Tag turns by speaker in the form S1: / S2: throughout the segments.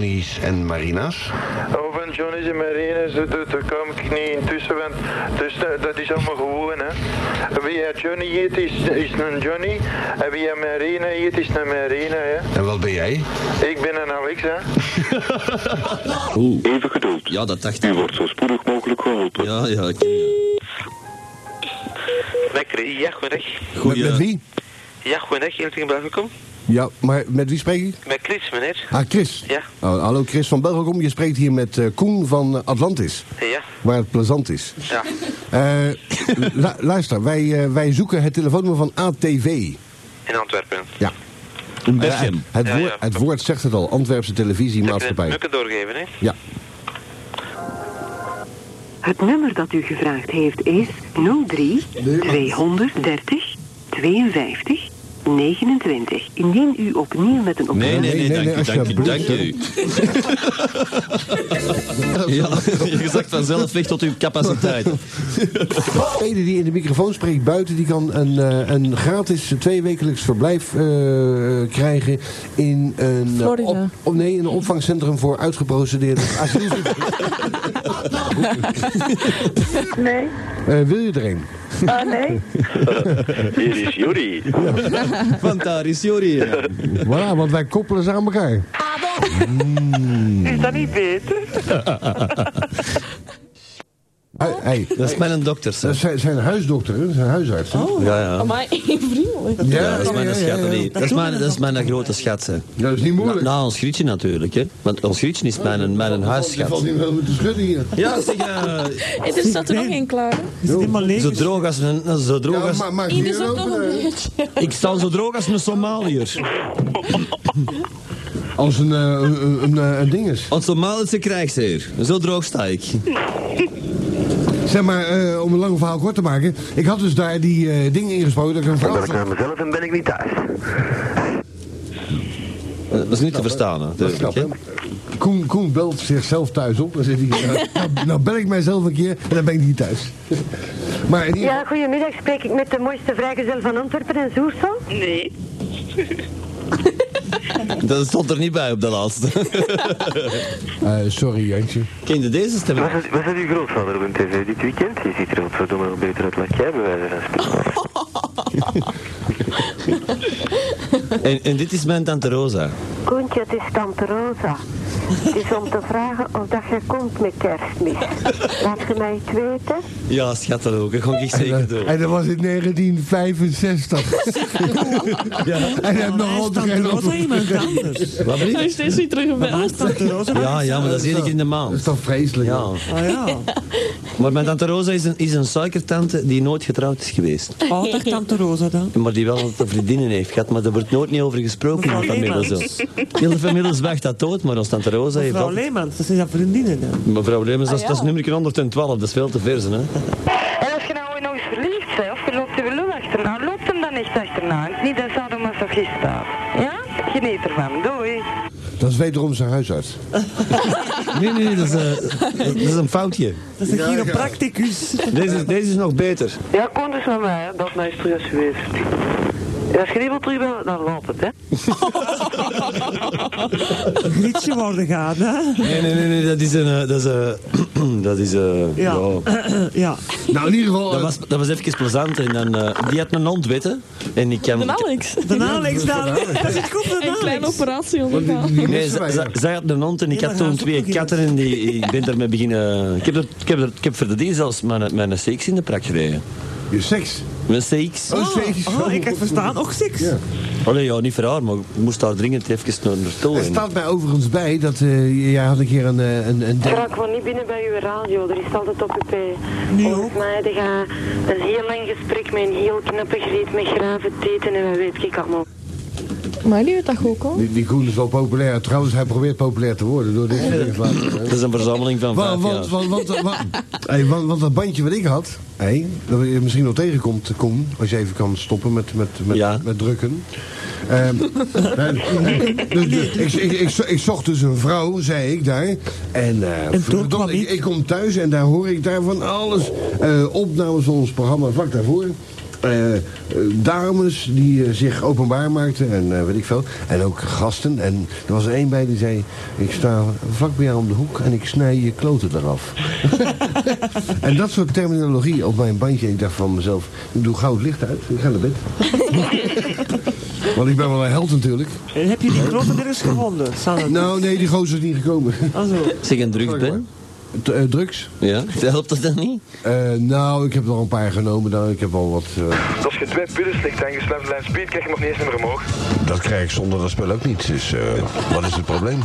S1: Johnny's en Marina's?
S2: Over Johnny's en Marines, daar, daar- daar kom ik niet intussen, want dus, dat, dat is allemaal gewoon, hè. Wie een Johnny heet, is, is een Johnny. En wie een Marine heet, is een Marine, hè.
S1: En wat ben jij?
S2: Ik ben een Alex, hè.
S3: Even geduld.
S4: Ja, dat dacht
S3: U
S4: ik.
S3: wordt zo spoedig mogelijk geholpen.
S4: Ja, ja, ik ken je.
S5: Lekker, ja, goedendag.
S4: Goeie.
S6: Met, met wie?
S5: Ja, goedendag, heel tegen welkom.
S6: Ja, maar Eh, met wie spreek ik?
S5: Met Chris, meneer.
S6: Ah, Chris.
S5: Ja.
S6: Oh, hallo Chris van Belgacom. Je spreekt hier met eh, Koen van eh, Atlantis,
S5: Ja,
S6: waar het plezant is.
S5: ja.
S6: Eh, lu- luister, wij, eh, wij zoeken het telefoonnummer van ATV.
S5: In Antwerpen.
S6: Ja.
S4: Berchem.
S6: Eh, het,
S5: Ja, ja.
S6: woord, het woord zegt het al, Antwerpse televisiemaatschappij.
S5: Mukken doorgeven, hè.
S6: Ja.
S7: Het nummer dat u gevraagd heeft is 03 230 52 29. Indien u opnieuw met een op
S4: Nee, nee,
S6: Nee,
S4: nee,
S6: nee, nee,
S4: dank u, dank u,
S6: alsjeblieft,
S4: dank u. Ja, je zakt vanzelf weg tot uw capaciteit.
S6: Degene die in de microfoon spreekt buiten, die kan een, eh, een gratis tweewekelijks verblijf eh, krijgen in een, eh,
S8: Florida.
S6: op, oh, nee, in een opvangcentrum voor uitgeprocedeerde asielzoekers.
S9: Nee,
S6: Eh, wil je er een?
S9: ah nee.
S3: Hier is Juri.
S4: Want daar is Jori.
S6: Voilà, want wij koppelen ze aan elkaar. Hmm.
S9: Is dat niet beter?
S6: Hij, hij-
S4: Dat is mijn dokter,
S6: dat zijn, zijn huisdokteren, zijn huisartsen.
S4: Ja, ja.
S8: Amai, vriendelijk.
S4: Ja, dat is mijn schat. allee. Dat is mijn, dat is mijn grote schat. hè.
S6: Dat is niet
S4: Na,
S6: moeilijk.
S4: na ons grietje natuurlijk, hè. Want ons grietje is mijn, mijn
S6: Je valt
S4: huisschat.
S6: niet wel met de schudden hier.
S4: Ja, zeg, eh,
S8: En er staat er nog één klaar. hè?
S10: Is het helemaal leeg?
S4: zo droog als een... nou, Zo droog
S6: Ja,
S4: als,
S6: maar maak
S8: Hier
S6: je
S8: is ook eh,
S6: ook
S8: nog een beetje.
S4: ik sta zo droog als een Somaliër.
S6: Als een, eh, een, een, eh, een ding is.
S4: Een Somalische krijgsheer. Zo droog sta ik.
S6: Zeg maar, eh, om een lang verhaal kort te maken. Ik had dus daar die eh, dingen ingesproken dat ik een
S3: Dan ben
S6: vrouw...
S3: ik naar mezelf en ben ik niet thuis.
S4: Eh, Dat is niet te verstaan,
S6: Dat is
S4: natuurlijk.
S6: knap,
S4: hè.
S6: hè? Koen, Koen belt zichzelf thuis op. Dan zit hij, nou, nou, nou bel ik mijzelf een keer en dan ben ik niet thuis. Maar in ieder
S9: Ja, Nou, goedemiddag. Spreek ik met de mooiste vrijgezel van Antwerpen en Zoersel?
S5: Nee.
S4: Dat stond er niet bij op de laatste.
S6: Eh, sorry Jantje.
S4: Kende deze stem?
S5: Was het, was het uw grootvader op een tv dit weekend? Je ziet er godverdomme nog beter uit dan jij, bij wijze van spreken.
S4: En, en dit is mijn tante Rosa.
S9: Koentje, het is Tante Rosa. Het is om te vragen of dat je komt met kerstmis. Laat je mij het weten.
S4: Ja, schat dat ook. Dat ga ik zeker doen.
S6: En dat was in 1965. En hij heeft nog altijd geen
S10: Rosa
S6: antwoord.
S10: iemand anders.
S4: Wat
S8: Hij
S4: blieft?
S8: is steeds niet teruggebeld.
S10: Tante Rosa.
S4: Ja, ja, maar dat is één keer in de
S6: Dat is
S4: maand.
S6: toch vreselijk.
S4: Ja.
S6: man.
S10: Ah ja,
S4: Maar mijn tante Rosa is een, is een suikertante die nooit getrouwd is geweest.
S10: altijd Tante Rosa dan.
S4: Maar die wel altijd vriendinnen heeft gehad, maar daar wordt nooit niet over gesproken in de familie. Zo. Heel de familie zwaagt dat dood, maar ons tante Rosa heeft
S10: Mevrouw
S4: wel...
S10: Leemans, dat zijn haar vriendinnen dan.
S4: Mevrouw Leemans, dat, is-
S8: Ah, ja.
S4: dat is nummer 112, dat is veel te versen, hè.
S9: En als je nou nog eens verliefd bent, of je loopt de lul achterna, loopt hem dan echt achterna. Het is Niet dat sadomasochist staat. Ja? Geniet ervan. Doei.
S6: Dat is wederom zijn huisarts.
S4: Nee, nee, nee, dat is, eh, dat is een foutje.
S10: Dat is een chiropracticus.
S4: Deze, deze is nog beter.
S9: Ja, kom dus met mij. Dat mij is terug geweest. Als je niet wil terugbellen, dan loopt het, hè.
S10: Grietje worden gaan, hè?
S4: Nee, nee, nee, nee, dat is een... eh, Dat is, eh, dat is eh,
S10: Ja.
S4: ja.
S10: Ja.
S6: Nou, in ieder geval...
S4: Dat
S6: eh,
S4: was, dat was even plezant. En dan, eh, die had een hond, weet je. En ik kan...
S8: En Alex.
S10: De Alex daar. Dat zit goed,
S8: Een
S10: de
S8: kleine
S10: Alex.
S8: operatie
S6: want die-
S8: ondergaan.
S6: die
S4: Nee,
S6: wisten
S4: zij-
S6: wij,
S4: zij-
S6: ja.
S4: zij had een hond en ik
S10: Ja,
S4: had
S10: dan
S4: toen
S10: gaan ze
S4: twee
S10: ook nog
S4: katten en die, ik ben daarmee beginnen... Ik heb, er, ik, heb er, ik heb voor de die zelfs mijn, mijn CX in de prak gereden.
S6: Je seks.
S4: Mijn CX?
S6: Oh, seks.
S10: Oh, ik had verstaan, ook seks.
S6: Ja.
S4: Allee, ja, niet voor haar, maar ik moest daar dringend even naar naartoe.
S6: Er
S4: En-
S6: staat mij overigens bij dat eh, jij had een keer een... eh, een, een
S9: Ik raak gewoon niet binnen bij uw radio, er is altijd op UP. Volgens mij heb je een heel lang gesprek met een heel knappe griet met graven teten en wat weet ik allemaal.
S8: Maar die weet dat ook al.
S6: die, die Koen is wel populair. Trouwens, hij probeert populair te worden door dit soort dingen te laten doen.
S4: Dat is een verzameling van
S6: Want,
S4: vijf
S6: want,
S4: jaar.
S6: want, want, want- hey, want, want dat bandje wat ik had, hey, dat je misschien nog tegenkomt, Koen, als je even kan stoppen met, met, met,
S4: Ja.
S6: met drukken. Ehm, eh, dus, dus ik, ik, ik, zo- ik zocht dus een vrouw, zei ik daar. En, eh,
S10: toen
S6: verdomme,
S10: kwam
S6: ik,
S10: niet.
S6: ik kom thuis en daar hoor ik daar van alles. Eh, opnames van ons programma vlak daarvoor. eh, eh, dames die eh, zich openbaar maakten en eh, weet ik veel. En ook gasten. En er was er één bij die zei, ik sta vlak bij jou om de hoek en ik snij je kloten eraf. en dat soort terminologie op mijn bandje. Ik dacht van mezelf, ik doe gauw het licht uit. Ik ga naar bed. Want ik ben wel een held natuurlijk.
S10: En heb je die kloppen er eens gevonden? Sanne?
S6: Nou nee, die gozer is niet gekomen.
S10: Ah, zo.
S4: Zeg een drugs,
S6: Sorry,
S4: Ben?
S6: hoor. D- eh, drugs?
S4: Ja? Helpt dat dan niet?
S6: Eh, nou, ik heb er al een paar genomen. Nou, ik heb al wat... eh,
S2: Als je twee pillen slikt en je slaapt lijn speed, krijg je nog niet eens meer omhoog.
S1: Dat krijg ik zonder dat spel ook niet. Dus eh, wat is het probleem?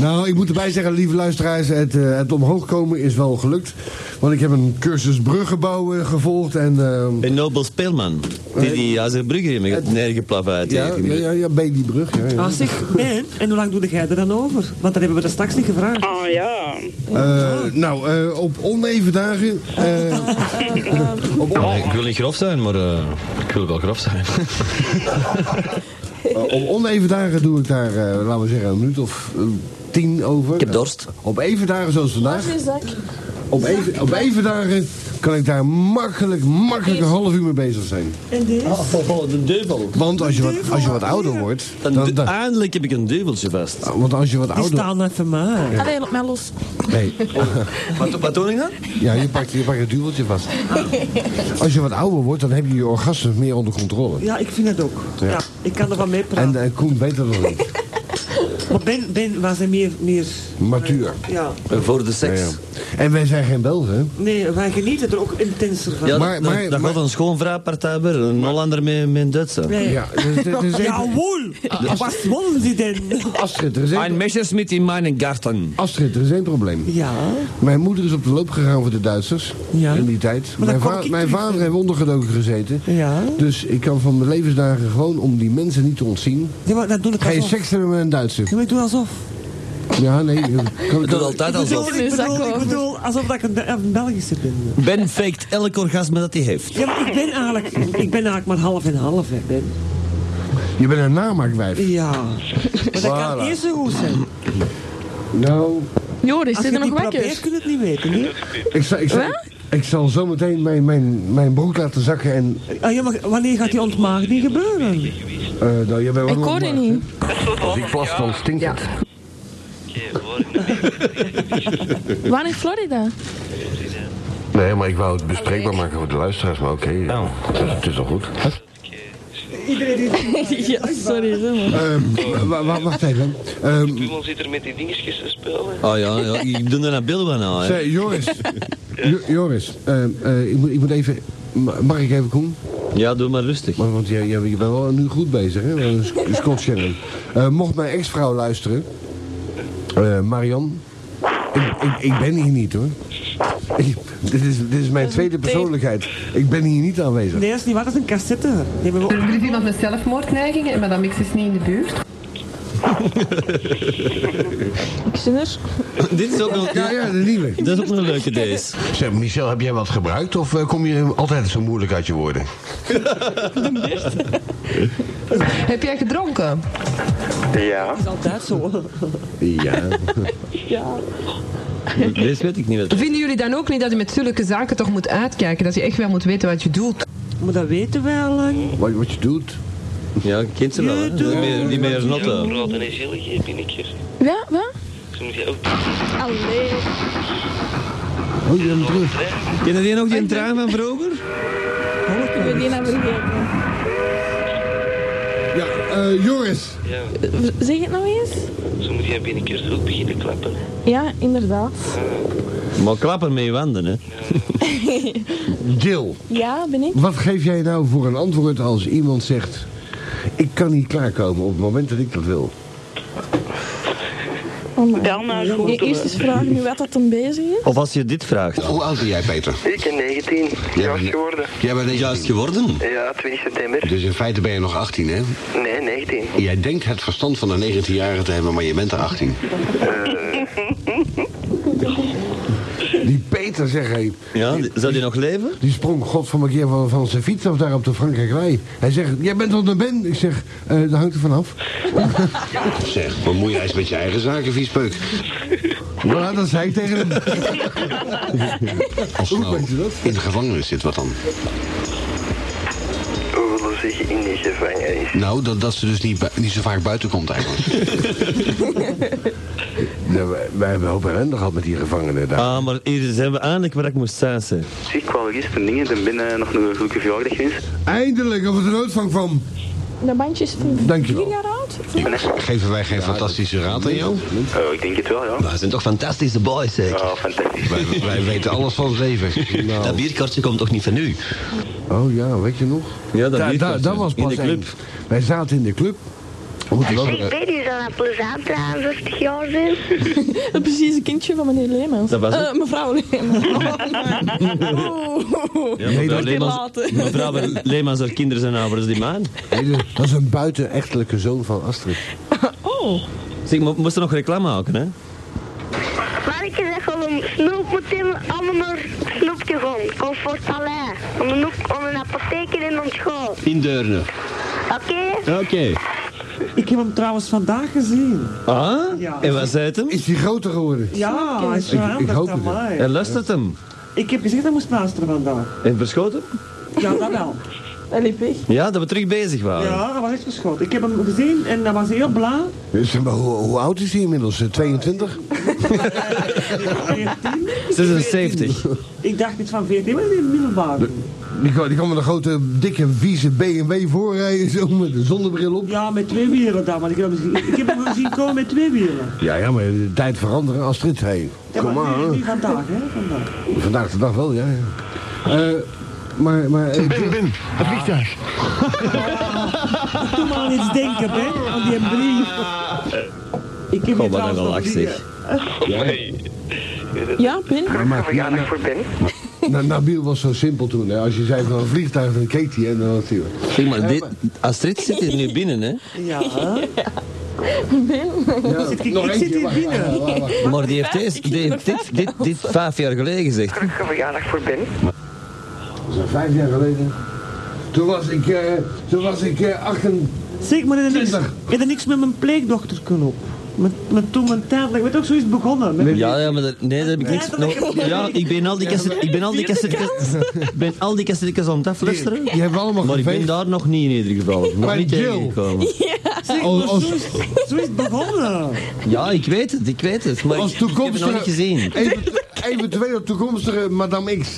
S6: Nou, ik moet erbij zeggen, lieve luisteraars, het, eh, het omhoog komen is wel gelukt. Want ik heb een cursus bruggenbouw eh, gevolgd en... ehm,
S4: Een nobel speelman. Die die als een brugger in mijn nergenplaf uit.
S6: ja, ja, ja, ja, bij die brug, ja. ja.
S10: Ah, zeg, Ben, en hoe lang doe jij er dan over? Want dat hebben we er straks niet gevraagd.
S9: Oh ja.
S10: oh.
S6: Eh, nou, eh, op oneven dagen... eh, op, on-
S4: ik wil niet grof zijn, maar eh, ik wil wel grof zijn.
S6: op Eh, oneven dagen doe ik daar, eh, laten we zeggen, een minuut of eh, tien over. Ik
S4: heb dorst.
S6: Op even dagen zoals vandaag.
S8: Waar is zak?
S6: Op even, op even dagen kan ik daar makkelijk, makkelijk een half uur mee bezig zijn.
S10: En dit?
S4: Ah, de duivel.
S6: Want als je wat, als je wat ouder wordt...
S4: Een
S6: dan-
S4: du-
S6: dan-
S4: eindelijk heb ik een duiveltje vast.
S6: want als je wat
S10: Die
S6: ouder...
S10: staan even maar.
S8: Allee, laat mij los.
S6: Nee,
S4: Wat, wat doe ik dan?
S6: ja, je pakt, je pakt het duweltje vast. Als je wat ouder wordt, dan heb je je orgasmes meer onder controle.
S10: Ja, ik vind het ook. Ja. ik kan er wel mee
S6: En
S10: praten.
S6: eh, Koen weet dat nog niet.
S10: Maar Ben, ben was er meer, meer...
S6: Matuur.
S10: Ja.
S4: Voor de seks.
S6: Ja, ja. En wij zijn geen Belgen.
S10: Nee, wij genieten er ook intenser van.
S4: Ja,
S6: Maar-
S4: maar,
S6: maar-
S4: dat
S6: maar-
S4: gaat een schoonvrouwpartij weer. Een Hollander met, met een Duitser.
S10: Nee.
S6: Ja, er is- er is
S10: Ja,
S6: even-
S10: wohl! Wat wollen ze denn?
S6: Astrid, er is
S4: Ein
S6: een-
S4: Messerschmitt in mijn garten.
S6: Astrid, er is één probleem.
S10: Ja.
S6: Mijn moeder is op de loop gegaan voor de Duitsers
S10: Ja.
S6: in die tijd.
S10: dan
S6: Mijn,
S10: kom
S6: va-
S10: ik
S6: mijn
S10: terug.
S6: vader heeft ondergedoken gezeten.
S10: Ja.
S6: Dus ik kan van mijn levensdagen gewoon om die mensen niet te ontzien.
S10: ja maar dat doe ik
S6: Ga je
S10: alsof.
S6: seks hebben met een Duitser?
S10: Ja, maar ik doe alsof.
S6: Ja, nee. eh, Kan,
S4: Ik doe
S6: kan,
S4: altijd
S10: Ik bedoel,
S4: alsof.
S10: ik bedoel, ik
S8: Zakken.
S10: bedoel alsof dat ik een, een Belgische ben.
S4: Ben faked elk orgasme dat hij heeft.
S10: Ja, maar ik ben eigenlijk, ik ben eigenlijk maar half en half, hè, Ben.
S6: je bent een namaakwijf.
S10: Ja. Maar dat kan
S6: Voilà.
S10: eerst zo goed zijn.
S6: Nou,
S8: Joris,
S10: Als
S8: zit
S10: je
S8: er
S10: het
S8: nog
S10: niet probeert,
S8: wakker?
S10: kun je het niet weten, nee?
S6: Ik zal, ik zal, ik zal zo meteen mijn, mijn, mijn broek laten zakken en...
S10: Ah, ja, maar wanneer gaat die ontmaagding gebeuren?
S6: eh nou, jij bent wel
S8: Ik hoor
S6: ontmaagd,
S8: die niet.
S1: Als ik plas, dan stinkt het.
S8: Waar in Florida?
S1: Nee, maar ik wou het bespreekbaar maken voor de luisteraars. Maar oké, eh, het, is- het is al goed.
S8: ja, sorry. Zeg maar.
S6: hè? Ehm, wa- wa- wacht even. Ehm
S5: Doelman zit er met die dingetjes te spelen.
S4: Oh ja, ja ik doe er een beeld van aan. nou, hè.
S6: zeg, Joris. Jo- Joris, ehm, eh, ik, moet, ik moet even... ma- Mag ik even, Koen?
S4: Ja, doe maar rustig.
S6: Want, want jij, jij, je bent wel nu goed bezig, hè? Een Sc- een Scott Shannon. Eh, mocht mijn ex-vrouw luisteren... eh Marian... Ik, ik, ik ben hier niet, hoor. Ik- dit, is, dit is mijn tweede persoonlijkheid. Ik ben hier niet aanwezig.
S10: Nee, dat is niet waar, dat is een cassette. Die hebben we
S11: Er is iemand met zelfmoordneigingen en Madame X is niet in de buurt.
S8: Ik zit er.
S4: Dit is ook nog...
S6: Ja, ja, de nieuwe.
S4: Dat is ook een leuke deze.
S1: Zeg, Michel, heb jij wat gebruikt of eh, kom je altijd zo moeilijk uit je woorden?
S11: Heb jij gedronken?
S5: Ja.
S10: is altijd zo.
S6: Ja.
S4: Deze weet ik niet wat.
S11: Vinden jullie dan ook niet dat je met zulke zaken toch moet uitkijken? Dat je echt wel moet weten wat je doet?
S10: Maar dat weten wij al lang.
S6: Wat, wat je doet.
S4: Ja, kent ze wel. hè. Die meer, die meer notten.
S5: Rood en zillig ben ik hier.
S8: Ja, wat?
S5: Zo moet je ook
S8: Allee.
S6: Oh, je bent terug.
S4: Ken je die nog, die trein van vroeger?
S8: Ik ben die nou vergeten.
S6: Ja, eh, Joris.
S8: V- Zeg het nou eens.
S5: Zo moet je binnenkort ook beginnen klappen.
S8: Ja, inderdaad.
S4: Maar klappen met je wanden, hè.
S6: Jill,
S8: Ja, ben ik.
S6: wat geef jij nou voor een antwoord als iemand zegt... Ik kan niet klaarkomen op het moment dat ik dat wil.
S8: Oh my.
S9: Bel maar goed.
S8: Eerst eens vragen nu wat dat dan bezig is.
S4: Of als je dit vraagt.
S1: Hoe oud ben jij, Peter?
S5: Ik ben 19.
S1: Jij bent-
S5: Juist geworden.
S1: Jij bent
S4: Juist
S1: juist.
S4: geworden.
S5: Ja, 20 september.
S1: Dus in feite ben je nog 18, hè?
S5: Nee, 19.
S1: Jij denkt het verstand van een 19-jarige te hebben, maar je bent er 18.
S6: Die Peter, zeg hij.
S4: Ja, die- zou die nog leven?
S6: Die sprong god van keer van, van zijn fiets af daar op de Frankrijk Hij zegt, jij bent op de Ben. Ik zeg, eh daar hangt er vanaf.
S1: Zeg, bemoei jij eens met je eigen zaken, viespeuk.
S6: Nou, dat zei ik tegen hem.
S1: Als nou in de gevangenis zit, wat dan?
S5: We willen zeggen in de gevangenis.
S1: Nou, dat, dat ze dus niet, bui- niet zo vaak buiten komt eigenlijk.
S6: Ja, Nou, wij, wij hebben een hoop ellende gehad met die gevangenen daar.
S4: Ah, maar hier zijn we eindelijk waar ik moest zijn. zeg.
S5: Zeg, ik wou gisteren dingen, dan ben je nog een gelukkige verjaardag gewenst.
S6: Eindelijk, of het een uitvang kwam.
S8: De bandje is van
S6: Dankjewel.
S8: vier jaar oud?
S1: Geven wij geen fantastische raad aan jou?
S5: Oh, ik denk het wel, ja.
S4: Maar ze zijn toch fantastische boys, zeker?
S5: Ja, fantastisch.
S1: Wij, wij weten alles van het leven. Nou.
S4: Dat bierkartje komt toch niet van u?
S6: Oh ja, weet je nog?
S4: Ja, dat
S6: Da-
S4: weet ik
S6: da-
S4: wel,
S6: dat
S4: ja.
S6: was
S4: In
S6: pas
S4: de club.
S6: één. Wij zaten in de club. We moeten wel-
S12: Ik weet niet, dat dat plezant aan 50 jaar zijn.
S8: Dat is precies een kindje van meneer Leemans.
S4: Dat was het?
S8: Eh, mevrouw Leemans. Oh,
S4: Ja, mevrouw
S8: dat is
S4: Leemans,
S8: later.
S4: mevrouw Leemans, haar kinderen zijn ouders die maan.
S6: Nee, dat- dat is een buitenechtelijke zoon van Astrid.
S8: Oh.
S4: Zeg, mo- moest er nog reclame maken, hè?
S12: Maar ik zeg gewoon, snoep moet in allemaal naar snoepje gaan. Comfort Palais. Om een, hoek- om een apotheek in ons school.
S1: In Deurne.
S12: Oké?
S4: Oké.
S10: Ik heb hem trouwens vandaag gezien.
S4: Ah?
S10: Ja.
S4: En wat zei het hem?
S6: Is hij groter geworden?
S10: Ja, hij is
S4: Ik- ik
S10: veranderd,
S4: hoop het, ja.
S10: amai.
S4: En luistert hem?
S10: Ik heb gezegd dat moest luisteren vandaag.
S4: En verschoten?
S10: Ja, dat wel.
S8: Hij liep weg.
S4: Ja, dat we terug bezig waren.
S10: Ja, dat was echt verschoten. Ik heb hem gezien en dat was heel blauw.
S6: Dus, maar hoe, hoe oud is hij inmiddels? Eh, 22?
S4: 76.
S10: Ik dacht iets van 14, maar in middelbaar.
S6: Die kwam, die kwam met een grote, dikke, vieze BMW voorrijden, zo met de zonnebril op.
S10: Ja, met twee wielen dan, maar ik heb hem gezien, ik heb hem zien komen met twee wielen.
S6: Ja, ja, maar de tijd veranderen, Astrid. Hey,
S10: Ja,
S6: kom
S10: maar
S6: maar.
S10: nu, nu
S6: hoor.
S10: vandaag, hè, vandaag.
S6: Vandaag de dag wel, ja. ja. Eh, maar, maar... eh,
S1: Het vliegtuig.
S10: Doe maar aan iets denken, hè, aan die brief.
S4: Kom,
S10: Ik heb hier
S4: wat een
S10: trouwens nog
S4: lach,
S10: liggen.
S4: zeg.
S8: Ja, Ben?
S6: maar- maar- na- na- Nabil was zo simpel toen. Hè. Als je zei van een vliegtuig, dan keek hij en dan was hij...
S4: Zeg maar, dit, Astrid zit hier nu binnen, hè?
S10: Ja.
S8: Ben?
S6: Ja,
S10: Zit ik- ik zit hier
S6: wacht, wacht,
S10: binnen.
S6: wacht, wacht.
S4: Maar die heeft, deze, die heeft dit, dit, dit vijf jaar geleden gezegd.
S5: Gelukkige verjaardag voor Ben.
S6: Dat is vijf jaar geleden. Toen was ik, eh, toen was ik eh, 28.
S10: Zeg, maar er niks, er is niks met mijn pleegdochter kunnen op. Met, met toen mijn tijdelijk, weet ook zoiets begonnen. Met,
S4: Ja, ja, maar dat- nee, dat heb ik niks. nou, ja, ik ben al die kassetten, ik ben al die kassetten, ik ben al die kassetten aan het afluisteren.
S6: Die hebben we allemaal
S4: Maar ik ben
S6: geveegd.
S4: daar nog niet in ieder geval. Nog
S6: Bij
S4: niet
S6: Jill.
S4: tegengekomen.
S10: zeg,
S6: Als-
S10: maar
S6: als-
S10: zo, is, zo is het
S6: Ah.
S10: begonnen.
S4: Ja, ik weet het, ik weet het. Maar
S6: Als
S4: ik, ik heb het nog niet
S6: toekomstige,
S4: gezien.
S6: eventu- eventueel toekomstige Madame X.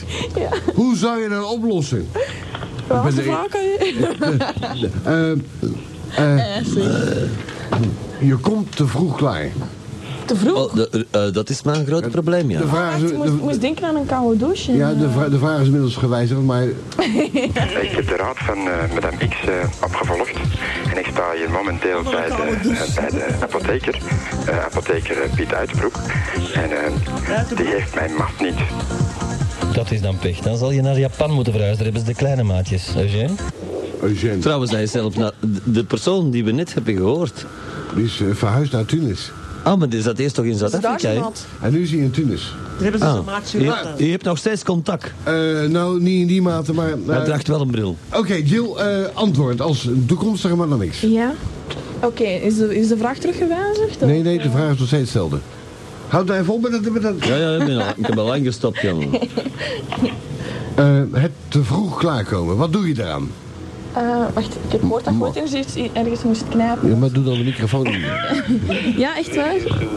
S6: Hoe zou je dat oplossen?
S8: Wat was de
S6: ben er-
S8: vraag aan je?
S6: Eh,
S8: Eh, sorry.
S6: je komt te vroeg klaar.
S8: Te vroeg?
S4: Oh, dat- eh, dat is mijn grote probleem,
S6: De
S4: ja.
S6: vraag is,
S8: Ik moest,
S6: Ah, de,
S8: moest denken aan een koude douche. en,
S6: ja, de,
S8: eh,
S6: vra- de vraag is inmiddels gewijzigd, maar
S5: Ik heb de raad van eh madame X eh, opgevolgd. En ik sta hier momenteel bij de, eh, bij de apotheker. Eh, apotheker eh, Piet Uitenbroek. En eh, die heeft mijn maat niet.
S13: Dat is dan pech. Dan zal je naar Japan moeten verhuizen. Daar hebben ze de kleine maatjes. Eugène?
S6: Eugène,
S4: Trouwens, hij is zelf naar de- de persoon die we net hebben gehoord.
S6: die is eh, verhuisd naar Tunis.
S4: Ah, maar die zat eerst toch in Zuid-Afrika, hè?
S6: En nu is hij in Tunis.
S10: Daar hebben ze zo'n
S4: Ah,
S10: maatje
S4: je,
S10: gedaan.
S4: hebt- je hebt nog steeds contact.
S6: Eh, nou, niet in die mate, maar... eh,
S4: Hij draagt wel een bril.
S6: Oké, Jill, eh, antwoord als toekomstige Madame X.
S8: Ja. Oké, is, de, is de vraag teruggewijzigd?
S6: Nee, nee, de vraag is nog steeds hetzelfde. Houd daar even op met dat... Met dat
S4: Ja, ja, ik, ben al, ik heb al lang gestopt, jongen.
S6: Eh, het te vroeg klaarkomen, wat doe je daaraan?
S8: Eh, wacht, ik heb woord dat goed ergens, ergens moest knijpen.
S6: Ja, maar doe dan de microfoon niet.
S8: Ja, echt waar?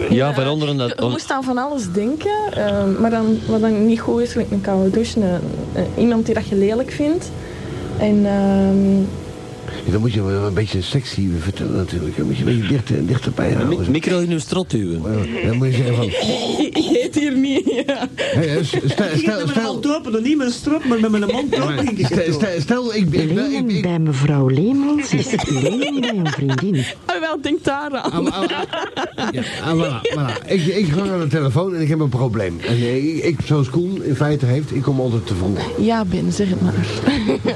S4: Ja, van onderen
S8: Je moest aan van alles denken, eh, maar dan, wat dan niet goed is, gelijk een koude douche, een- een- iemand die dat je lelijk vindt. En ehm,
S6: Ja, dan moet je wel een beetje sexy vertellen natuurlijk. Dan moet je een beetje dichter, dichterbij houden.
S4: dat micro in uw strot duwen.
S6: Ja, Dan moet je zeggen van...
S8: ik heet hier niet. Ja.
S6: Hey, eh, stel, stel,
S10: Ik
S6: stel,
S10: heb met mijn
S6: stel,
S10: mond open, nog niet met een strop, maar met mijn mond open ging ik het
S6: stel,
S10: doen.
S6: stel, stel ik, ik, ben- ik, ik,
S12: bij mevrouw Leemans is het lenen bij een vriendin.
S8: Ah, wel, denk daaraan.
S6: Ah, ah, ah. Ja, ah, voilà, voilà. Ik, ik hang aan de telefoon en ik heb een probleem. En eh, ik, ik, zoals Koen in feite heeft, ik kom altijd te vroeg.
S8: Ja, Ben, zeg het maar.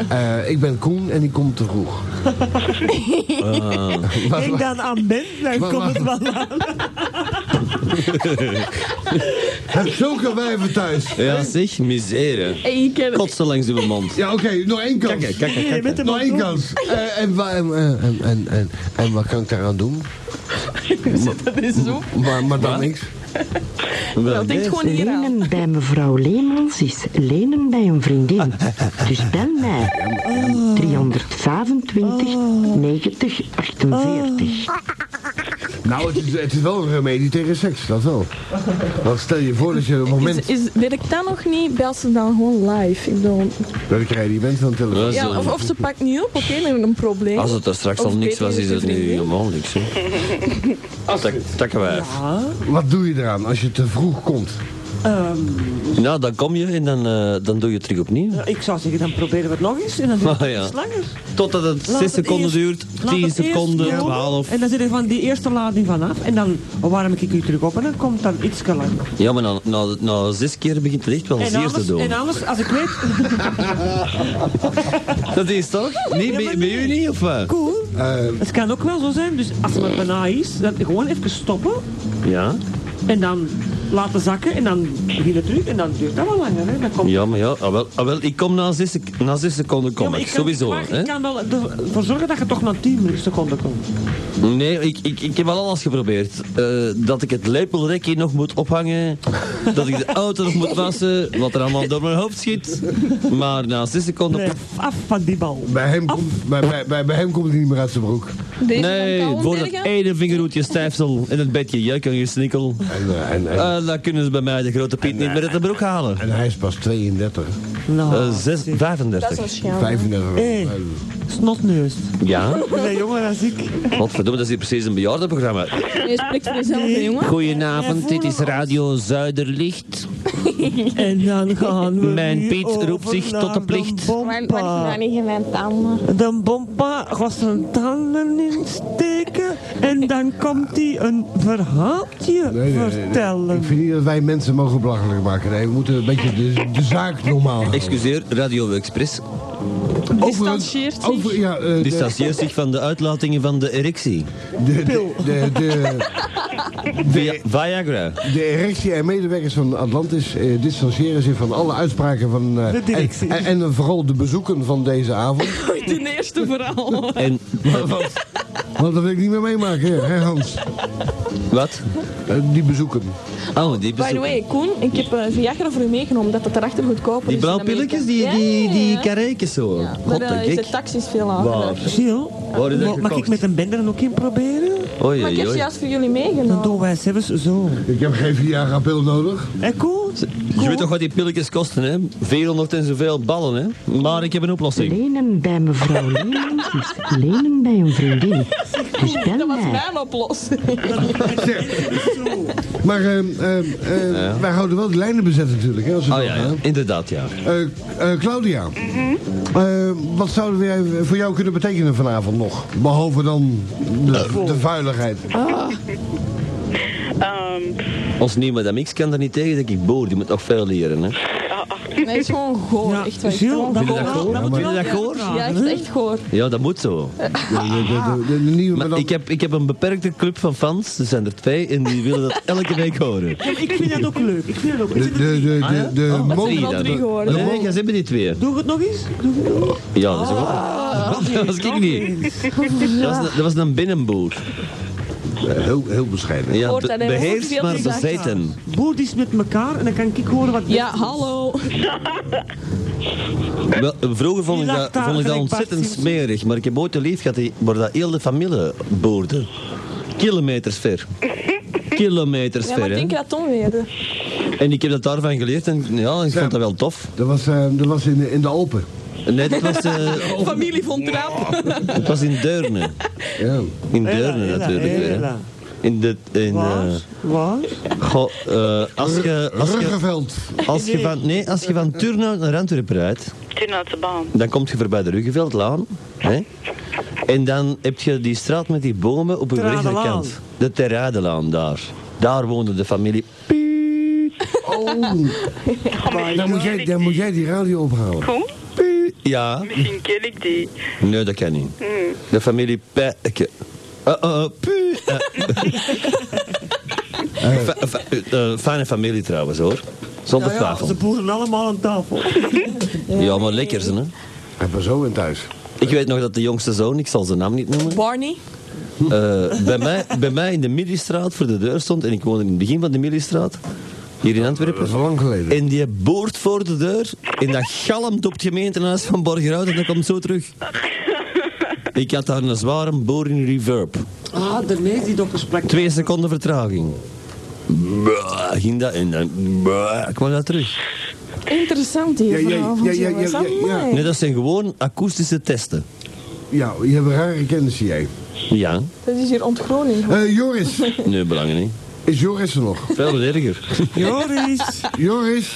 S6: Eh, ik ben Koen en ik kom te vroeg.
S4: Ah.
S10: Denk dan aan Ben, dan
S6: Maar
S10: komt het
S6: waar-
S10: wel aan.
S6: Heb zulke wijven thuis.
S4: Ja, zeg, misère.
S8: Ik heb...
S4: Kotsen langs uw mond.
S6: Ja, oké, nog één kans.
S4: Kijk, kijk, kijk, kijk.
S6: Nog één kans. Eh, en, wa- en, eh, en, en, en, en wat kan ik daaraan doen?
S8: Dat is zo.
S6: Maar, maar dan niks.
S8: Dat denkt gewoon hier aan.
S14: Lenen bij mevrouw Leemans is lenen bij een vriendin. Dus bel mij. 325 90 48.
S6: Nou, het is, het is wel een remedie tegen seks, dat wel. Want stel je voor dat je op het moment
S8: Is, is, werkt dat nog niet? Bel ze dan gewoon live. Ik bedoel,
S6: dat ik jij die bent van de telefoon.
S8: ja, of, of ze pakt niet op, oké, dan een probleem.
S4: Als het er straks al
S8: Of
S4: niks
S8: beter
S4: was, is het nu
S8: vriendin.
S4: helemaal niks. Hè. Ah, Tak, takkenwijf.
S6: Wat doe je eraan als je te vroeg komt?
S10: Ehm,
S4: Nou, dan kom je en dan, eh, dan doe je het terug opnieuw.
S10: Ah. ik zou zeggen, dan proberen we het nog eens en dan duurt het
S4: Ah, ja.
S10: iets langer.
S4: Totdat het 6
S10: Laat het
S4: seconden
S10: eerst-
S4: duurt,
S10: laat
S4: 10
S10: het eerst
S4: seconden,
S10: lopen
S4: 12.
S10: En dan zit er van die eerste lading vanaf en dan warm ik u terug op en dan komt dan iets langer.
S4: Ja, maar na, na, na zes keer begint het echt wel
S10: En
S4: zeer te
S10: anders,
S4: doen.
S10: en anders, als ik weet...
S4: Dat is toch? Nee, bij, bij u niet of wat?
S10: Cool. Het kan ook wel zo zijn, dus als het maar bijna is, dan gewoon even stoppen
S4: Ja.
S10: en dan laten zakken en dan beginnen terug en dan duurt dat wel langer. Hè. Dan komt
S4: Ja, maar ja, ah, wel, ah, wel, ik kom na zes, sec- na zes seconden kom
S10: maar
S4: ik,
S10: ik kan-
S4: sowieso.
S10: maar
S4: hè?
S10: ik kan wel ervoor zorgen dat je toch na 10 seconden komt.
S4: Nee, ik, ik, ik heb al alles geprobeerd. Eh, dat ik het lepelrekje nog moet ophangen, dat ik de auto nog moet wassen, wat er allemaal door mijn hoofd schiet. Maar na zes seconden...
S10: Nee, af van die bal.
S6: Bij hem,
S10: Oh.
S6: komt, bij, bij, bij, bij hem komt het niet meer uit zijn broek.
S8: Deze
S4: nee,
S8: van
S4: voor dat ene vingerhoedje stijfsel en het bedje juk en gesnikkel.
S6: En, eh, en, en,
S4: Eh, dan kunnen ze bij mij de grote Piet niet meer uit de broek halen.
S6: en hij is pas 32.
S4: Eh, zes- 35.
S8: Dat is een schande.
S6: 35.
S10: Hé, snotneus.
S4: Ja?
S10: Je bent jonger dan ik.
S4: Godverdomme, dat is hier precies een bejaardenprogramma.
S8: Je spreekt voor jezelf, hè, jongen.
S4: Goedenavond, dit is Radio Zuiderlicht.
S10: En dan gaan we
S4: Mijn
S10: nu
S4: Piet roept
S10: over
S4: zich tot de
S10: naar
S4: plicht.
S10: De
S15: Maar
S10: bompa.
S15: niet in mijn tanden.
S10: De bompa gaat zijn tanden insteken en dan komt hij een verhaaltje
S6: Nee, nee, nee, nee.
S10: vertellen.
S6: Ik vind niet dat wij mensen mogen belachelijk maken. Nee, we moeten een beetje de, de zaak normaal houden.
S4: Excuseer, Radio Express
S6: Distancieert over, ja, eh, de-
S4: distancieert zich van de uitlatingen van de erectie.
S6: de, de, de, de,
S4: Via Viagra.
S6: de erectie en medewerkers van Atlantis eh, distancieren zich van alle uitspraken van... eh,
S10: De
S6: en-
S10: directie.
S6: En, en, vooral de bezoeken van deze avond.
S8: Ten eerste vooral.
S4: En
S6: Want, want dat wil ik niet meer meemaken, hè Hans?
S4: wat?
S6: Eh, die bezoeken.
S4: Oh, die
S8: By the
S4: bezoek.
S8: way, Koen, ik heb eh Viagra voor u meegenomen, dat het erachter goedkoper
S4: Die
S8: is.
S4: blauwe
S8: in Amerika.
S4: pilletjes, die, die, die karijkjes zo.
S8: Maar
S4: God,
S8: eh,
S4: dat
S8: is
S4: gek.
S8: de taxis veel
S4: Waar?
S8: lager.
S10: Giel,
S4: Waar is dat
S10: mag- mag ik
S4: gekocht?
S10: met een bender dan ook in proberen?
S4: Oei,
S8: Maar ik
S4: oei,
S8: heb ze
S4: oei.
S8: juist voor jullie
S10: Dan
S8: meegenomen.
S10: doen wij het zelfs zo.
S6: Ik heb geen Viagra-pil nodig.
S10: Hé, cool.
S4: Je weet toch wat die pilletjes kosten, hè? 400 en zoveel ballen, hè? Maar ik heb een oplossing.
S14: Lenen bij mevrouw Leemans is lenen bij een vriendin. Dus bel
S8: Dat was
S14: mij.
S8: mijn oplossing.
S6: Maar ehm, ehm, eh, wij houden wel de lijnen bezet natuurlijk. Hè, als we
S4: Oh ja,
S6: doorgaan.
S4: ja, inderdaad, ja.
S6: Eh, eh, Claudia, eh, wat zouden wij voor jou kunnen betekenen vanavond nog? Behalve dan
S4: Eh,
S6: de, de vuiligheid.
S4: Ons nieuwe madame X kan daar niet tegen, denk ik, boer, die moet nog veel leren, hè?
S8: Nee, het is gewoon goor.
S10: Ja,
S8: echt waar.
S10: Giel,
S8: Gewoon
S10: dat
S8: goor.
S4: Vind je dat goor?
S10: Ja, maar-
S4: Vind je dat goor?
S8: Ja, echt, echt goor.
S4: Ja, dat moet zo.
S6: De, de- de- de- de nieuwe
S4: Maar
S6: madame-
S4: ik heb, ik heb een beperkte club van fans, er zijn er twee, en die willen dat elke week horen.
S10: Ja, maar Ik vind dat ook leuk. Ik vind dat ook.
S6: de,
S10: Is
S6: de, de,
S10: het-
S6: de,
S4: Ah, ja?
S6: de, de
S4: Oh,
S6: mo-
S4: drie
S8: al
S4: dan.
S8: drie gehoord,
S4: Nee,
S8: hè?
S4: nee, jij zit bij die twee.
S10: Doe het nog eens. Doe het nog eens.
S4: Ja, dat is wel.
S8: Ah,
S4: dat was ik niet. Dat was, een- dat was een binnenboer.
S6: heel, heel bescheiden.
S4: Ja,
S8: Hoort
S4: be-
S8: dat hij ook
S4: beheerst
S8: veel
S4: maar
S8: gezegd
S4: bezeten.
S10: Boer die is met elkaar en dan kan ik horen wat.
S8: Ja, hallo.
S4: Wel, Vroeger vond ik
S10: Die
S4: dat,
S10: lacht daar
S4: vond ik dat
S10: gelijk Bart
S4: ontzettend
S10: Simpson.
S4: smerig, maar ik heb ooit een lief gehad die- waar dat heel de familie boerde. Kilometers ver. Kilometers
S8: Ja, maar
S4: ver,
S8: ik
S4: hè.
S8: denk dat Tom weer.
S4: En ik heb dat daarvan geleerd en ja, ik
S6: Ja.
S4: vond dat wel tof.
S6: Dat was, eh, dat was in, de- in de Alpen.
S4: Nee, dat was, eh,
S10: Oh,
S8: Familie vond raap.
S4: het was in Deurne.
S6: Ja.
S4: In
S10: Hela,
S4: Deurne
S10: hela,
S4: natuurlijk weer, hè.
S10: hela.
S4: In de... In, eh,
S10: Waar? Waar?
S4: goh, eh, als je... Als je
S6: Ruggeveld.
S4: als je van, nee, als je van Turnhout naar Antwerpen rijdt,
S15: Toen uit de baan.
S4: dan kom je voorbij de Ruggeveldlaan. Hè? En dan heb je die straat met die bomen op uw
S10: Terradelaan.
S4: rechterkant. De Terradelaan daar. Daar woonde de familie.
S6: Oh, dan moet, jij, dan moet jij die radio ophalen.
S15: Koen?
S4: Piet. Ja?
S15: Misschien ken ik die.
S4: Nee, dat kan niet.
S15: Hmm.
S4: De familie Pijke. Oh, oh, oh, pu. Eh. Fa- fa- eh, eh, fijne familie trouwens hoor. Zonder
S10: Nou Ja, ja,
S4: twijfel.
S10: ze boeren allemaal aan tafel.
S4: Ja, maar lekker ze, hè? Hebben zo in thuis. Ik weet nog dat de jongste zoon, ik zal zijn naam niet noemen.
S8: Barney?
S4: eh, bij, mij, bij mij in de Middelstraat voor de deur stond. En ik woonde in het begin van de Middelstraat. Hier in Antwerpen. Dat is lang geleden. En die boort voor de deur. En dat galmt op het gemeentehuis van Borgerhout. En dat komt zo terug. Ik had daar een zware boor in reverb.
S16: Ah, daarmee is die dokkersplek.
S4: Twee seconden vertraging. Bah, ging dat en dan bah, kwam dat terug.
S8: Interessant hier
S6: Ja, ja,
S8: vanavond,
S6: ja, ja, ja,
S8: jongens.
S6: ja, ja.
S8: Amai.
S4: Nee, dat zijn gewoon akoestische testen.
S6: Ja, je hebt rare kennissen jij.
S4: Ja.
S8: Dat is hier ontgroening.
S6: Eh, Joris.
S4: Nee, belangen niet.
S6: Is Joris er nog?
S4: Veel erger.
S6: Joris. Joris.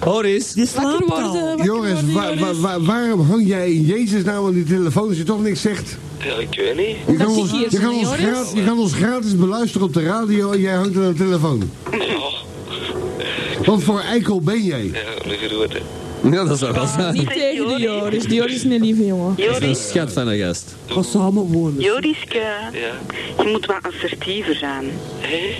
S4: Joris.
S10: Je
S6: slaapt
S10: al.
S6: Joris, wa- wa- wa- waarom hang jij in Jezus naam aan die telefoon als je toch niks zegt?
S3: Ja, ik weet niet.
S6: Je kan, ons, je, kan ons gratis, je kan ons gratis beluisteren op de radio en jij hangt aan de telefoon. Wat voor eikel ben jij?
S3: De grote.
S4: Ja, dat zou wel zijn.
S8: Niet tegen de Joris. Die Joris is een lieve jongen.
S4: Dat is een schat van een gast.
S16: Ga samen wonen.
S15: Joriske, je moet wat assertiever zijn.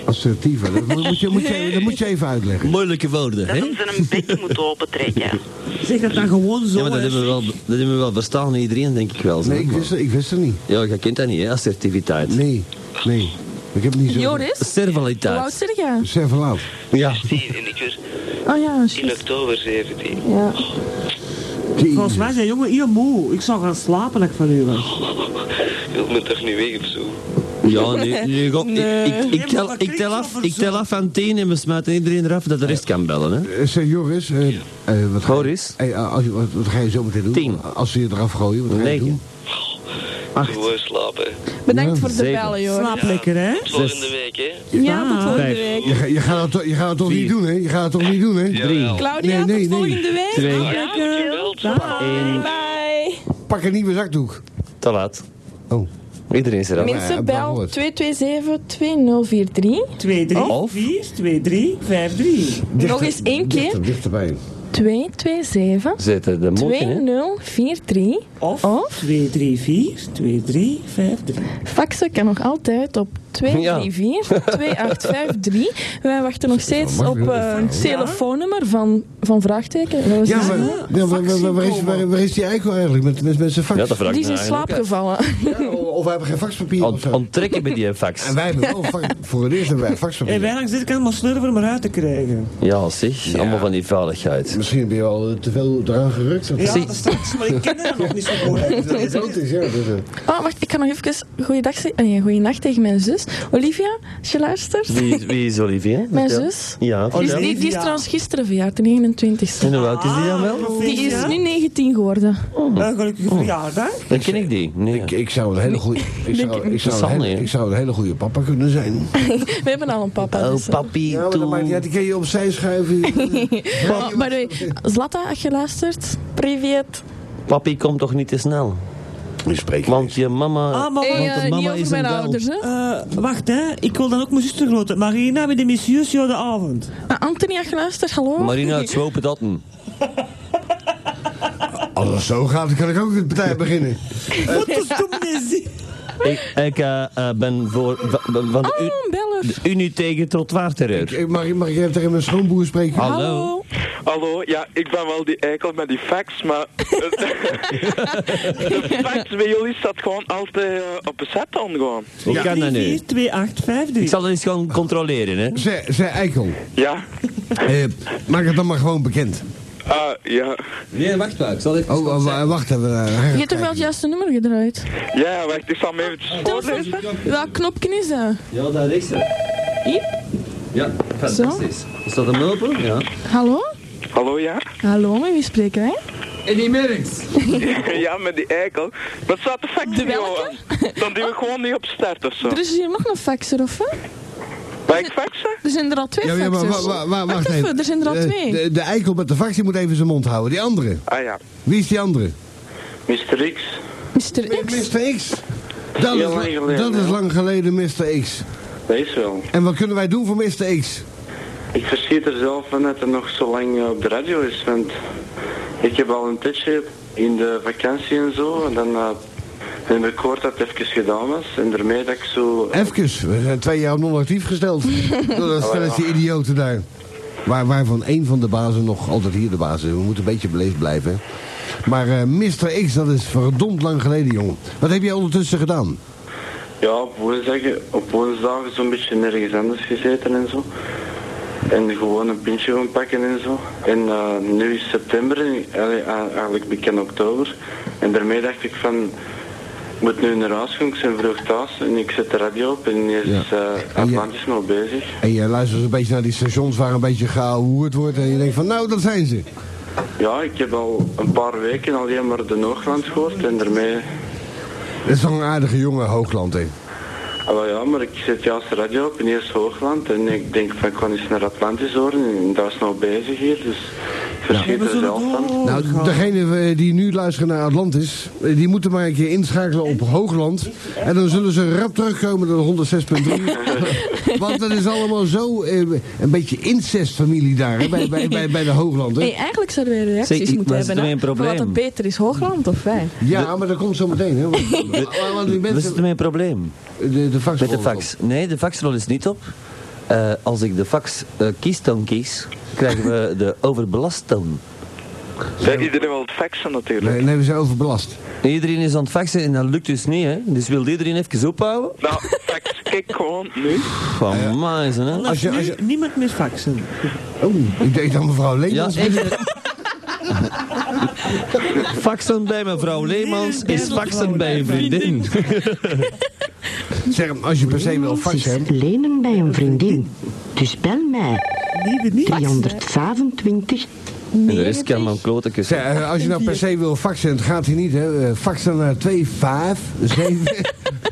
S6: Assertiever, dat moet je, moet je, dat moet je even uitleggen.
S4: Moeilijke woorden,
S15: Dat
S4: hè?
S15: ze een bek moet opentrekken.
S16: Zeg dat dan gewoon zo.
S4: Ja, maar dat
S16: hè.
S4: hebben, we wel, dat hebben we wel verstaan, iedereen, denk ik wel.
S6: Nee, ik wist, ik wist het niet.
S4: Ja, je kent dat niet, hè, assertiviteit.
S6: Nee, nee. Ik heb niet zo...
S8: Joris? Hoe oud
S4: Servaliteit.
S8: zit jij?
S6: Servalaat.
S4: Ja.
S3: in de kus.
S8: Oh ja,
S3: In oktober 17.
S8: Ja.
S16: Volgens mij zijn jongen hier moe. Ik zou gaan slapen als ik van u was.
S3: Je moet toch niet weg op zo.
S4: Ja, nu, nu go-
S16: Nee.
S4: ik, ik,
S16: Nee,
S4: ik,
S16: maar
S4: tel,
S16: dat
S4: ik, tel af, ik tel af van 10 en we smuiten iedereen eraf dat de rest kan bellen. Hè?
S6: Eh, Zeg Joris, eh, eh, wat, ga, eh, eh, als je- wat, wat ga je zo meteen doen? Als ze je eraf gooien, wat ga je
S4: Negen.
S6: doen?
S3: Gewoon eh, slapen.
S8: Bedankt voor de
S6: Zeven.
S8: bellen, Joris.
S16: Slaap lekker, hè?
S3: Tot volgende week, hè?
S8: Ja, tot Ah. volgende week.
S6: Je, ga- je gaat het, toch- je gaat het toch niet doen, hè? Je gaat het toch niet doen, hè? Drie.
S8: Claudia, tot volgende week.
S6: Twee.
S8: Slaap lekker.
S4: Eén.
S8: Bye.
S6: Pak een nieuwe zakdoek.
S4: Te laat.
S6: Oh.
S4: Iedereen is eraf.
S8: Mensen, bel 227-2043.
S16: 2, 3, 4, 2, 3, 5, 3.
S8: Nog eens één keer.
S6: Dichterbij.
S8: 227
S4: Zetten de mond in, hè?
S8: 2043.
S16: Of, 2, 3, 4, 2, 3, 5, 3.
S8: Faxen kan nog altijd op 234 2853. Wij wachten nog steeds op eh, een telefoonnummer van, van vraagteken. Dat was
S6: Ja,
S8: dus-
S6: maar, ja, maar- maar- maar waar, is, waar, waar is die eikel eigenlijk met, met, met zijn fax?
S4: Ja, dat vraag ik
S8: die is
S4: me
S8: in
S4: eigenlijk
S8: slaap
S4: ook af.
S8: gevallen.
S6: Of we hebben geen faxpapier of zo.
S4: Onttrekken bij die fax.
S6: En wij hebben wel fax, voor het eerst hebben wij faxpapier.
S16: En weinig zit ik allemaal slurven om eruit te krijgen.
S4: Ja, zeg. Allemaal van die veiligheid.
S6: Misschien ben je al eh, te veel eraan gerukt.
S16: Ja, dat straks, maar ik ken haar nog niet zo goed. hè.
S6: Dat is ook iets, ja. dat eh, is het.
S8: Oh, wacht, ik kan nog even goeiedag zeggen. Nee, goeienacht tegen mijn zus. Olivia, als je luistert.
S4: Wie, is- wie is Olivier?
S8: Mijn
S4: Vertel.
S8: zus.
S4: Ja,
S8: Die is,
S4: vertel.
S8: die, die is trouwens gisteren verjaard, de 29
S4: En hoe oud is die dan wel?
S8: Die is nu 19 geworden.
S4: Oh.
S16: Een gelukkige verjaardag.
S4: Dat ken ik die. Nee.
S6: Ik, ik zou een hele goede... Ik zou, ik, zou
S4: Zal
S6: een hele,
S4: niet.
S6: ik zou een hele goede papa kunnen zijn.
S8: We hebben al een
S4: Oh,
S8: papa. dus, eh.
S4: papi,
S6: Ja, maar dat maakt niet uit. Die kun je opzij schuiven.
S8: Oh, by the way, Zlatta, als je luistert, privet.
S4: Papi komt toch niet te snel? Want je mama...
S16: Ah, maar
S8: Hey,
S16: wacht.
S8: eh,
S4: want de
S8: niet
S4: mama
S8: over
S4: is
S8: mijn
S4: een bel.
S8: ouders, hè?
S16: Eh, wacht, hè. Ik wil dan ook mijn zuster groten. Marina, bij de messieurs, ja, de avond.
S8: Ah, Anthony, als je luistert, hallo.
S4: Marina, het zwopen dat een.
S6: Als het zo gaat, dan kan ik ook met de partij beginnen.
S16: Wat is dat?
S4: Ik, ik eh, eh, ben voor, va- van de,
S8: Oh,
S4: U-
S8: een beller.
S4: de Unie tegen trottoirterreur.
S6: Ik- Eh, Mag, ik- mag ik even tegen mijn schoonboer spreken?
S4: Hallo.
S3: Hallo, ja, ik ben wel die eikel met die fax, maar... de fax bij jullie staat gewoon altijd eh, op een set dan gewoon.
S4: Hoe kan dat nu?
S16: 4, 2, 8, 5, 3.
S4: Ik zal dat eens gaan controleren, hè.
S6: Zij, zij eikel.
S3: Ja?
S6: Eh, maak het dan maar gewoon bekend.
S3: Ah, ja.
S4: Nee, wacht maar. Ik zal even...
S6: Oh, wa- wa- wacht even.
S8: Je
S6: eh,
S8: hebt toch wel het juiste nummer gedraaid?
S3: Ja, wacht, ik zal hem even voorlezen.
S8: Welk knopje is dat?
S4: Ja, daar rechts.
S8: Hier?
S4: Ja, fantastisch. Is dat hem open? Ja.
S8: Hallo?
S3: Hallo, ja?
S8: Hallo, met wie spreken wij?
S3: Eddie Merks. ja, met die eikel. Dat staat de fax niet Johan. Dan duw ik gewoon niet op start of zo.
S8: Er is hier nog een faxer, of wat?
S3: Mag ik faxen?
S8: Er zijn er al twee
S6: Ja, ja, maar
S8: faxers.
S6: wa- wa- wa- wacht
S8: even,
S6: even.
S8: er zijn er al
S6: Eh,
S8: twee.
S6: De, de eikel met de vax, die moet even zijn mond houden. Die andere.
S3: Ah ja.
S6: Wie is die andere?
S3: Mr. X.
S6: eh,
S8: Mr. X.
S6: Mr. X. Dat, is,
S3: Heel lang
S6: la-
S3: geleden,
S6: dat is
S3: hè?
S6: lang geleden Mr. X.
S3: Dat is wel.
S6: En wat kunnen wij doen voor Mr. X?
S3: Ik verschiet er zelf van dat er nog zo lang eh, op de radio is, want ik heb al een tijdje
S17: in de vakantie en zo. En dan eh, heb ik gehoord dat het even gedaan was. En daarmee dat ik zo...
S6: Even, we zijn twee jaar op non-actief gesteld. Door dat stelletje idioten daar. Waar, waarvan één van de bazen nog altijd hier de baas is. We moeten een beetje beleefd blijven. hè. Maar eh Mr. X, dat is verdomd lang geleden, jongen. Wat heb jij ondertussen gedaan?
S17: Ja, op woensdagen, op woensdagen zo'n beetje nergens anders gezeten en zo. En gewoon een pintje gaan pakken en zo. En eh, nu is september, en, allee, a- eigenlijk bekend oktober. En daarmee dacht ik van, ik moet nu naar huis gaan, ik ben vroeg thuis. En ik zet de radio op en ineens
S6: Ja.
S17: is eh Atlantis nog bezig.
S6: En je luistert een beetje naar die stations waar een beetje gehoord wordt. En je denkt van, nou, dat zijn ze.
S17: Ja, ik heb al een paar weken alleen maar de Noogland gehoord. En daarmee,
S6: Dat is toch een aardige jongen, Hoogland, hè?
S17: allee, ja, maar ik zet juist de radio op en eerst Hoogland. En ik denk van, ik kan eens naar Atlantis horen. En dat is nog bezig hier, dus verschiet er zelf van.
S6: Nou, degene eh, die nu luisteren naar Atlantis, eh, die moeten maar een keer inschakelen op Hoogland. En dan zullen ze rap terugkomen naar de 106.3. Want dat is allemaal zo eh, een beetje incestfamilie daar, hè, bij, bij, bij, bij de Hoogland.
S8: Hey,
S6: Hè?
S8: eigenlijk zouden wij reacties
S6: Zeg, ik-
S8: moeten
S6: maar is
S8: hebben.
S6: er
S8: hè.
S6: een probleem?
S8: Van Wat er beter is, Hoogland of wij?
S4: eh,
S6: Ja, maar dat komt zo meteen. Hè, want, want die
S4: Wat is
S6: mensen...
S4: het mijn probleem?
S6: De, de
S4: Met de fax. Nee, de faxrol is niet op. Eh, als ik de fax eh, kies, dan kies, krijgen we de overbelasttoon.
S3: Ja, iedereen wil het faxen natuurlijk.
S6: Nee, we zijn overbelast.
S4: Iedereen is aan het faxen en dat lukt dus niet, hè. Dus wil iedereen even ophouden?
S3: Nou, fax, kijk gewoon nu.
S4: Van mij, hè.
S16: Als je, Niemand meer faxen.
S6: Oh, ik deed aan mevrouw
S4: Ja,
S6: Leemans.
S4: echt. Faxen bij mevrouw Leemans is faxen bij een vriendin.
S6: zeg hem, als je per se wil faxen.
S14: Het is lenen bij een vriendin. Dus bel mij. 325.
S4: En de rest kan mijn kloten kussen.
S6: Zeg, eh, als je nou per se wil faxen, het gaat hier niet, hè. eh, Fax dan naar 2, 5, 7,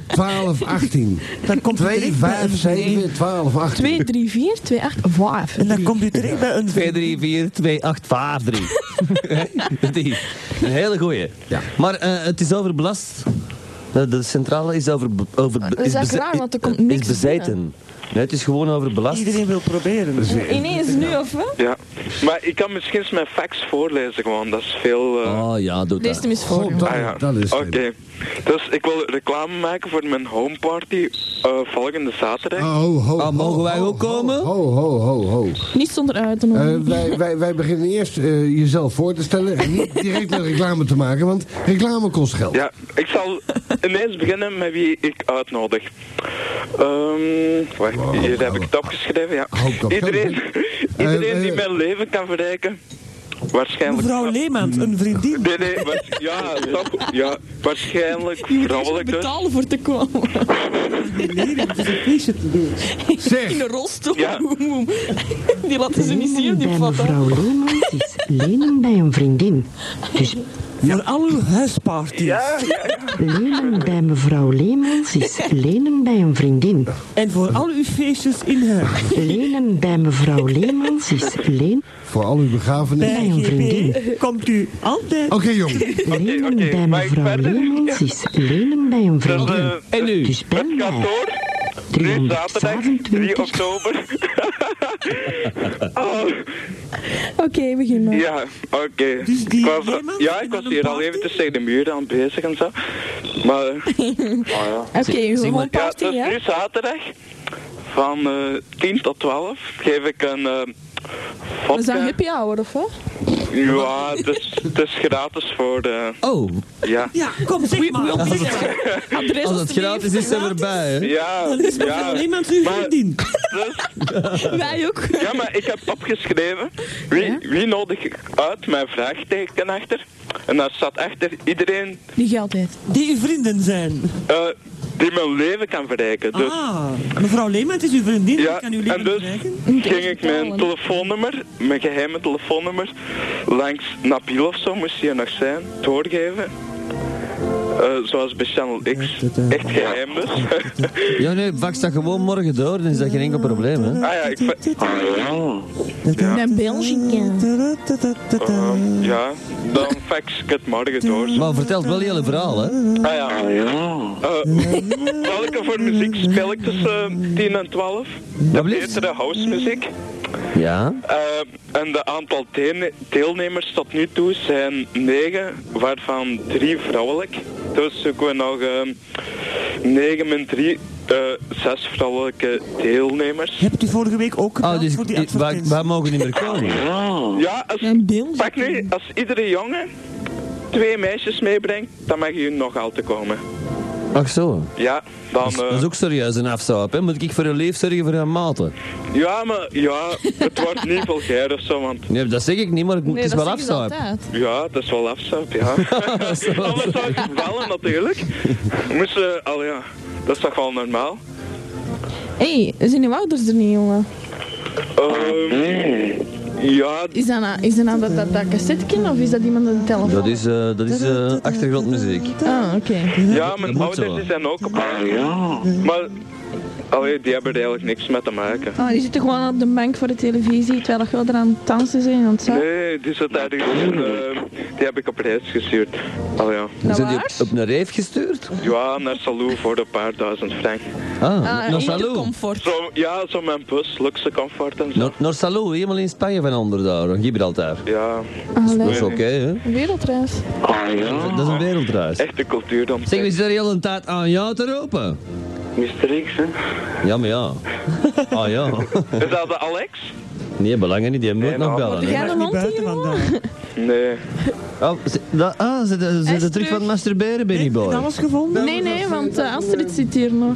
S6: 12, 18.
S16: Dan komt
S6: 2, 5, 7, 12, 18.
S8: 2, 3, 4, 2, 8, 5. En dan
S16: komt u terecht bij een...
S4: 2, 3, 4, 2, 8, 5, 3. Die. Een hele goeie. Maar eh, het is overbelast. De, de centrale is over... over
S8: Dat is eigenlijk
S4: beze-
S8: raar, want er komt niks
S4: Is bezeten.
S8: binnen.
S4: Nee, het is gewoon overbelast.
S16: Iedereen wil proberen.
S8: Ineens nu of wat?
S3: Ja, maar ik kan misschien eens mijn fax voorlezen gewoon, dat is veel... eh,
S4: Oh ja, doe
S8: Lees
S4: dat.
S8: hem eens voor.
S6: dat,
S3: Ah, ja.
S6: Oh, dat is
S3: Oké, dus ik wil reclame maken voor mijn homeparty eh volgende zaterdag.
S6: Oh, Ho, ho, ho,
S4: Ah, mogen wij
S6: ook komen? Ho, ho, ho, ho.
S8: Niet zonder uit te nodigen.
S6: Eh, wij, wij, wij beginnen eerst eh, jezelf voor te stellen en niet direct met reclame te maken, want reclame kost geld.
S3: Ja, ik zal ineens beginnen met wie ik uitnodig. Ehm, wacht, hier heb ik het opgeschreven, ja. Iedereen, iedereen die mijn leven kan verrijken, waarschijnlijk...
S16: Mevrouw Leemans, een vriendin.
S3: Nee, nee, waars- ja, stop. Ja, waarschijnlijk vrouwelijk. dus.
S8: Betalen voor te komen.
S16: Nee, dat is een feestje te doen.
S8: In een rolstoel.
S3: Ja.
S8: Die laten ze niet zien,
S14: Lenen
S8: die
S14: bij
S8: vatten.
S14: mevrouw Leemans is lenen bij een vriendin. Dus
S16: Voor al uw huisparties.
S14: lenen bij mevrouw Leemans is lenen bij een vriendin.
S16: En voor al uw feestjes in huis.
S14: Lenen bij mevrouw Leemans is leen
S6: Voor al uw begrafenis.
S14: bij een vriendin.
S16: Komt u altijd...
S6: Oké, jong.
S14: Lenen bij mevrouw Leemans is lenen bij
S3: Dus,
S14: een vriendin.
S3: eh,
S4: En nu?
S14: Dus bel mij.
S3: Nu zaterdag, 3 oktober. oh,
S8: Oké, begin maar.
S3: ja, oké. Ik was- Ja, ik was hier al eventjes tegen de muur aan bezig en zo. Maar, eh, oh ja.
S8: Oké, uw
S3: Zeg maar,
S8: homeparty,
S3: Ja, dus
S8: ja?
S3: nu zaterdag, van eh 10 tot 12, geef ik een... eh
S8: We zijn
S3: vodka.
S8: happy hour, of wat?
S3: Ja, het is, het is gratis voor de...
S4: Oh,
S3: Ja.
S16: Ja, kom, zeg maar.
S8: Adres
S4: als het gratis is, zijn we erbij, hè.
S3: Ja,
S16: Dan is
S3: ja.
S16: mevrouw Leemans uw
S3: Maar-
S16: vriendin.
S8: Wij ook.
S3: Ja, maar ik heb opgeschreven wie, wie nodig ik uit mijn vraagteken achter. En daar staat achter iedereen
S8: Die geldt niet.
S16: Die uw vrienden zijn.
S3: eh, die mijn leven kan verrijken. Dus,
S16: Ah, mevrouw Leemans is uw vriendin.
S3: ja,
S16: Ik kan uw leven
S3: en dus
S16: bereiken.
S3: ging ik mijn telefoonnummer, mijn geheime telefoonnummer, langs Nabil of zo moest hij nog zijn, doorgeven. Eh, zoals bij Channel X. Echt geheim dus.
S4: Ja, nee, fax dat gewoon morgen door, dan is dat geen enkel probleem, hè.
S3: ah ja, ik... ver-
S8: Mijn België.
S16: Tudututututu.
S3: Ja, dan fax ik het morgen door.
S4: Maar vertelt wel je hele verhaal, hè.
S3: Ah ja. Eh, welke voor muziek speel ik tussen 10 en 12? De betere housemuziek.
S4: Ja?
S3: Eh, en de aantal tene- deelnemers tot nu toe zijn negen, waarvan drie vrouwelijk. Dus zoeken we nog ehm, negen min drie, eh, zes vrouwelijke deelnemers.
S16: Hebt u vorige week ook gedaan voor die
S4: eh, wij,
S16: advertentie?
S4: wij mogen niet meer komen.
S3: Ja, als, pak nu, als iedere jongen twee meisjes meebrengt, dan mag je nog al te komen.
S4: Ach zo.
S3: Ja, dan...
S4: Dat
S3: eh,
S4: is ook serieus een afstap, hè? Moet ik voor een leef zorgen voor een maten?
S3: ja, maar ja, het wordt niet vulgair of zo, want...
S4: Nee, dat zeg ik niet, maar het, het is wel afstap.
S3: Ja, dat is wel afstap, ja. Anders zou ik vallen natuurlijk. Moest, eh, al ja, dat is toch wel normaal?
S8: Hé, hey, zijn uw ouders er niet, jongen?
S3: Ehm, ja,
S8: Is dat nou, is dat, nou dat, dat, dat cassettekin of is dat iemand een telefoon?
S4: Dat is, eh, dat is eh, achtergrondmuziek.
S8: Ah, oké.
S3: ja
S4: Dat
S3: mijn
S4: moet
S3: ouders
S4: zo. Ah,
S3: die zijn ook op ja. Maar, allee, die hebben er eigenlijk niks mee te maken.
S8: Ah, die zitten gewoon op de bank voor de televisie, terwijl dat wel eraan het dansen zijn en aan het zappen.
S3: Nee, die zat ergens in, ehm, die heb ik op reis gestuurd. Al ja.
S4: Zijn die op, op een reef gestuurd?
S3: Ja, naar Salou voor een paar duizend frank.
S4: Ah, naar naar Salou.
S3: Zo, ja, zo mijn bus, luxe comfort en zo.
S4: Naar, naar Salou, helemaal in Spanje van onder daar, Gibraltar.
S3: Ja.
S4: Dat is oké, hè?
S8: Een wereldreis.
S3: Ah,
S4: Dat is een wereldreis.
S3: Echte cultuur dan.
S4: Ah, Zeg, we zitten hier al een tijd aan jou te roepen.
S17: Mr. X, hè?
S4: Ja, maar ja. Ah ja.
S3: Is dat de Alex?
S4: Nee, belangen niet, die moet nog bellen. hè.
S16: buiten vandaag.
S3: Nee.
S4: Oh, ze- da- ah, ze ze- ze zijn terug van het masturberen, Benny Boy.
S16: gevonden?
S8: Nee, nee, want eh, Astrid zit hier nog.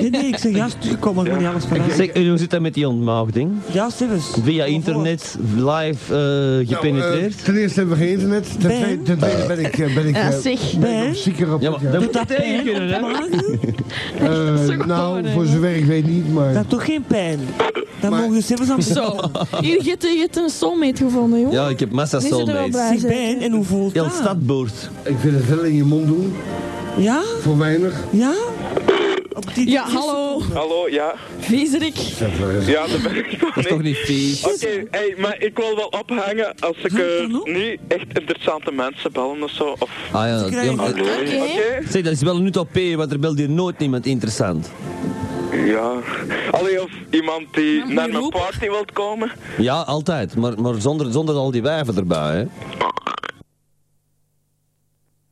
S16: Nee, nee, ik zeg juist terugkomen, maar niet alles van
S4: Zeg, en hoe zit dat met die ontmaagding?
S16: Ja, Stevens.
S4: Via internet, live eh, gepenetreerd?
S6: Nou, ten eerste hebben we geen internet. Ten
S16: Ben?
S6: tweede, ten tweede ben ik, eh, ben ik,
S8: Ja,
S6: eh,
S8: zeg.
S6: ben ik nog zieker op. eh,
S4: Ja, maar
S6: ja.
S4: eh. dat moet je tegen kunnen, hè?
S6: Eh, nou, voor zover ik weet niet, maar...
S16: Dat toch geen pijn? Dan mogen we Stevens aan
S8: Zo, hier, je hebt- je hebt een soulmate gevonden, jongen.
S4: Ja, ik heb massa
S8: Die zitten er wel
S4: soulmates.
S8: bij,
S16: pijn en hoe voelt
S4: Heel
S16: dat?
S4: stadboord.
S6: Ik vind het wel in je mond doen,
S16: Ja?
S6: voor weinig.
S16: Ja? Op die
S8: Ja, hallo,
S3: Hallo, ja.
S8: viezerik.
S3: Ja, dat ben ik nog
S4: Dat is toch
S3: niet.
S4: niet vies?
S3: Oké, hey, maar ik wil wel ophangen als ik eh, niet echt interessante mensen bellen of zo. Of...
S4: Ah ja, ja, maar-
S8: Oké.
S4: Zeg, dat is wel een utopie, want er belt hier nooit niemand interessant.
S3: Ja. Allee, of iemand die naar mijn party wilt komen.
S4: Ja, altijd, maar, maar zonder, zonder al die wijven erbij, hè?